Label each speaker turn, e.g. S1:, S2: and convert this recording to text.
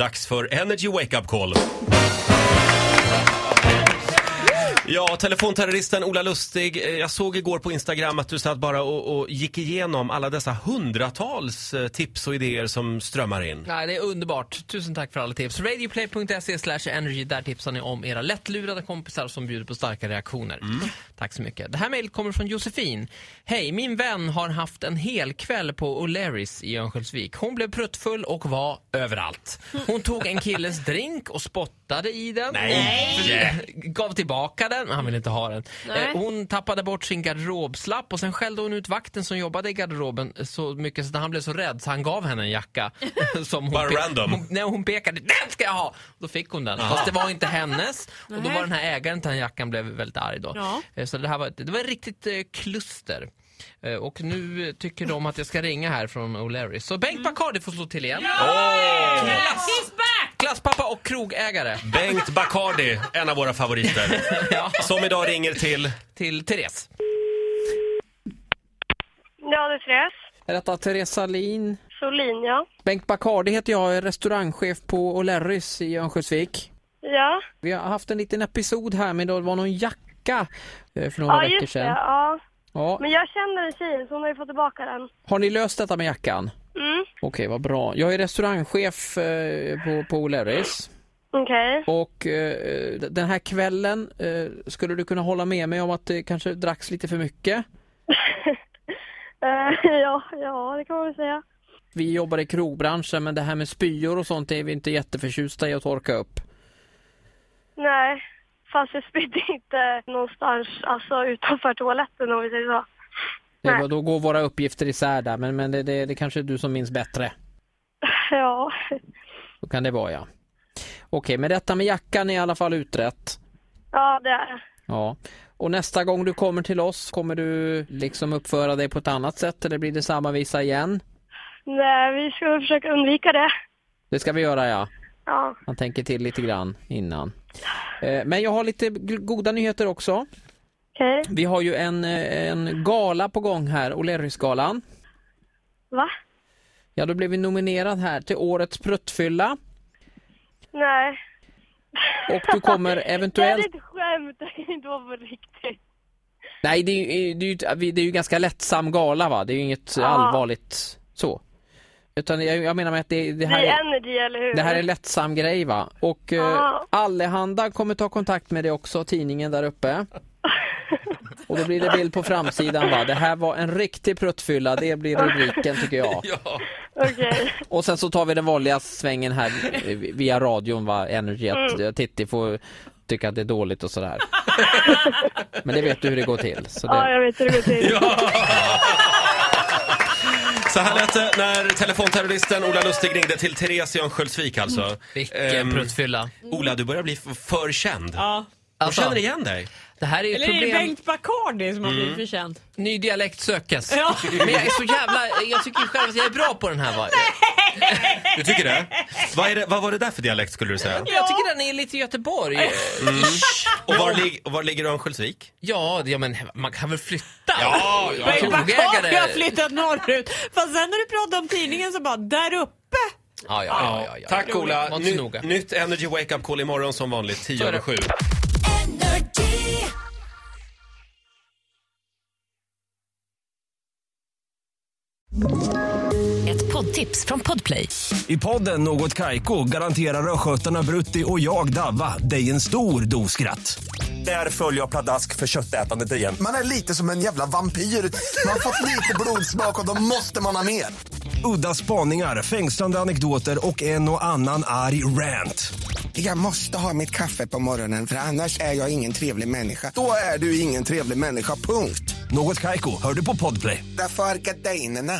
S1: Dags för Energy Wake Up Call. Ja, telefonterroristen Ola Lustig, eh, jag såg igår på Instagram att du satt bara och, och gick igenom alla dessa hundratals eh, tips och idéer som strömmar in.
S2: Nej, det är underbart. Tusen tack för alla tips. Radioplay.se slash energy. Där tipsar ni om era lättlurade kompisar som bjuder på starka reaktioner. Tack så mycket. Det här mejlet kommer från Josefin. Hej, min vän har haft en hel kväll på O'Learys i Örnsköldsvik. Hon blev pruttfull och var överallt. Hon tog en killes drink och spottade i den.
S1: Nej.
S2: Gav tillbaka den, men han ville inte ha den.
S3: Nej.
S2: Eh, Hon tappade bort sin garderobslapp och sen skällde hon ut vakten som jobbade i garderoben så mycket så att han blev så rädd så han gav henne en jacka. Som hon
S1: Bara
S2: pe-
S1: random.
S2: Hon, nej, hon pekade, den ska jag ha! Då fick hon den. Fast det var inte hennes. Och då
S3: Nej.
S2: var den här ägaren till den jackan blev väldigt arg då.
S3: Ja.
S2: Eh, Så det här var, ett- det var ett riktigt eh, kluster. Eh, Och nu eh, tycker de att jag ska ringa här från O'Learys. Så Bengt
S4: Mm.
S2: Bacardi får slå till igen.
S3: He's back!
S2: Glasspappa och krogägare.
S1: Bengt Bacardi, en av våra favoriter,
S2: Ja,
S1: som idag ringer till...
S2: till Therese.
S4: Ja, det är Therese.
S2: Detta Therese Lin.
S4: Solin, ja.
S2: Bengt Bacardi heter jag, är restaurangchef på O'Learys i Örnsköldsvik.
S4: Ja,
S2: Vi har haft en liten episod här men det var någon jacka eh, för några
S4: ja
S2: veckor
S4: just det.
S2: sedan.
S4: Ja.
S2: Ja.
S4: Men jag känner en tjej, så hon har ju fått tillbaka den.
S2: Har ni löst detta med jackan?
S4: Mm,
S2: Okej, vad bra. Jag är restaurangchef eh, på, på O'Learys
S4: okej.
S2: och eh, d- den här kvällen eh, skulle du kunna hålla med mig om att det kanske dracks lite för mycket?
S4: Eh, ja, ja, det kan man väl säga.
S2: Vi jobbar i krogbranschen men det här med spyor och sånt är vi inte jätteförtjusta i att torka upp.
S4: Nej, fast jag spydde inte någonstans, alltså utanför toaletten om vi säger så.
S2: Det,
S4: Nej.
S2: var- då går våra uppgifter isär där men, men det, det, det kanske är du som minns bättre.
S4: Ja,
S2: Så kan det vara ja. Okej, men detta med jackan är i alla fall utrett.
S4: ja det är det.
S2: Ja. Och nästa gång du kommer till oss, kommer du liksom uppföra dig på ett annat sätt eller blir det samma visa igen?
S4: Nej, vi ska försöka undvika det.
S2: Det ska vi göra ja.
S4: Ja,
S2: Man tänker till lite grann innan. Eh, Men jag har lite g- goda nyheter också.
S4: okej.
S2: Vi har ju en, eh, en gala på gång här, O'Learys-galan.
S4: Va?
S2: Ja, då blev vi nominerad här till Årets pruttfylla
S4: Nej.
S2: och du kommer
S4: Det här är
S2: eventuellt...
S4: ett skämt, det kan inte vara på riktigt.
S2: Nej, det är, ju- eh, det, är ju, ett- vi- det är ju ganska lättsam gala va? Det är ju inget
S4: Ja.
S2: allvarligt så. Utan jag, jag menar med att det, det
S4: Det
S2: här
S4: är
S2: är...
S4: energy, eller hur?
S2: Det här är en lättsam grej va? Och eh,
S4: Ja.
S2: Allehanda kommer ta kontakt med dig också, tidningen där uppe. Och då blir det bild på framsidan va? Det här var en riktig pruttfylla, det blir rubriken tycker jag.
S1: Ja.
S4: Okej.
S2: Och sen så tar vi den vanliga svängen här eh, via radion va, Energy, att mm. Titti får tycka att det är dåligt och sådär. Men det vet du hur det går till. Så
S4: Ja,
S2: det...
S4: jag vet hur det går till.
S1: Så här lät det när telefonterroristen Ola Lustig ringde till Therese i Örnsköldsvik alltså. Ehm,
S2: pruttfylla.
S1: Ola, du börjar bli f- för känd. De
S5: Ja.
S2: Alltså,
S1: känner igen dig.
S2: det här är ju
S5: Eller är det Bengt Bacardi som har
S1: Mm.
S5: blivit förkänd?
S2: Ny dialekt sökes.
S5: Ja.
S2: Men jag är så jävla, jag tycker själv att jag är bra på den här va?
S1: Du tycker det? Vad, är det? vad var det där för dialekt skulle du säga? Mm.
S2: Jag tycker den är lite Göteborg.
S1: Och var, lig- och var ligger Örnsköldsvik?
S2: Ja, ja, men man kan väl flytta?
S1: Ja, ja.
S2: Bengt
S5: Bengt
S2: Krogägare.
S5: Bacardi har flyttat norrut. Fast sen när du pratade om tidningen så bara, där uppe.
S2: Ja, ja, ja, ja, ja.
S1: Tack Ola.
S2: Var inte så
S1: Ny,
S2: noga.
S1: nytt Energy Wake Up Call imorgon som vanligt, 10
S2: är
S1: över
S2: det.
S1: 7.
S6: Ett poddtips från Podplay.
S7: I podden Något Kaiko garanterar östgötarna Brutti och jag, Davva, dig en stor dos skratt. Där följer jag pladask för köttätandet igen.
S8: Man är lite som en jävla vampyr. Man har fått lite blodsmak och då måste man ha mer.
S7: Udda spaningar, fängslande anekdoter och en och annan arg rant.
S8: Jag måste ha mitt kaffe på morgonen för annars är jag ingen trevlig människa. Då är du ingen trevlig människa, punkt.
S7: Något Kaiko, hör du på Podplay.
S8: Därför arkadeinerna.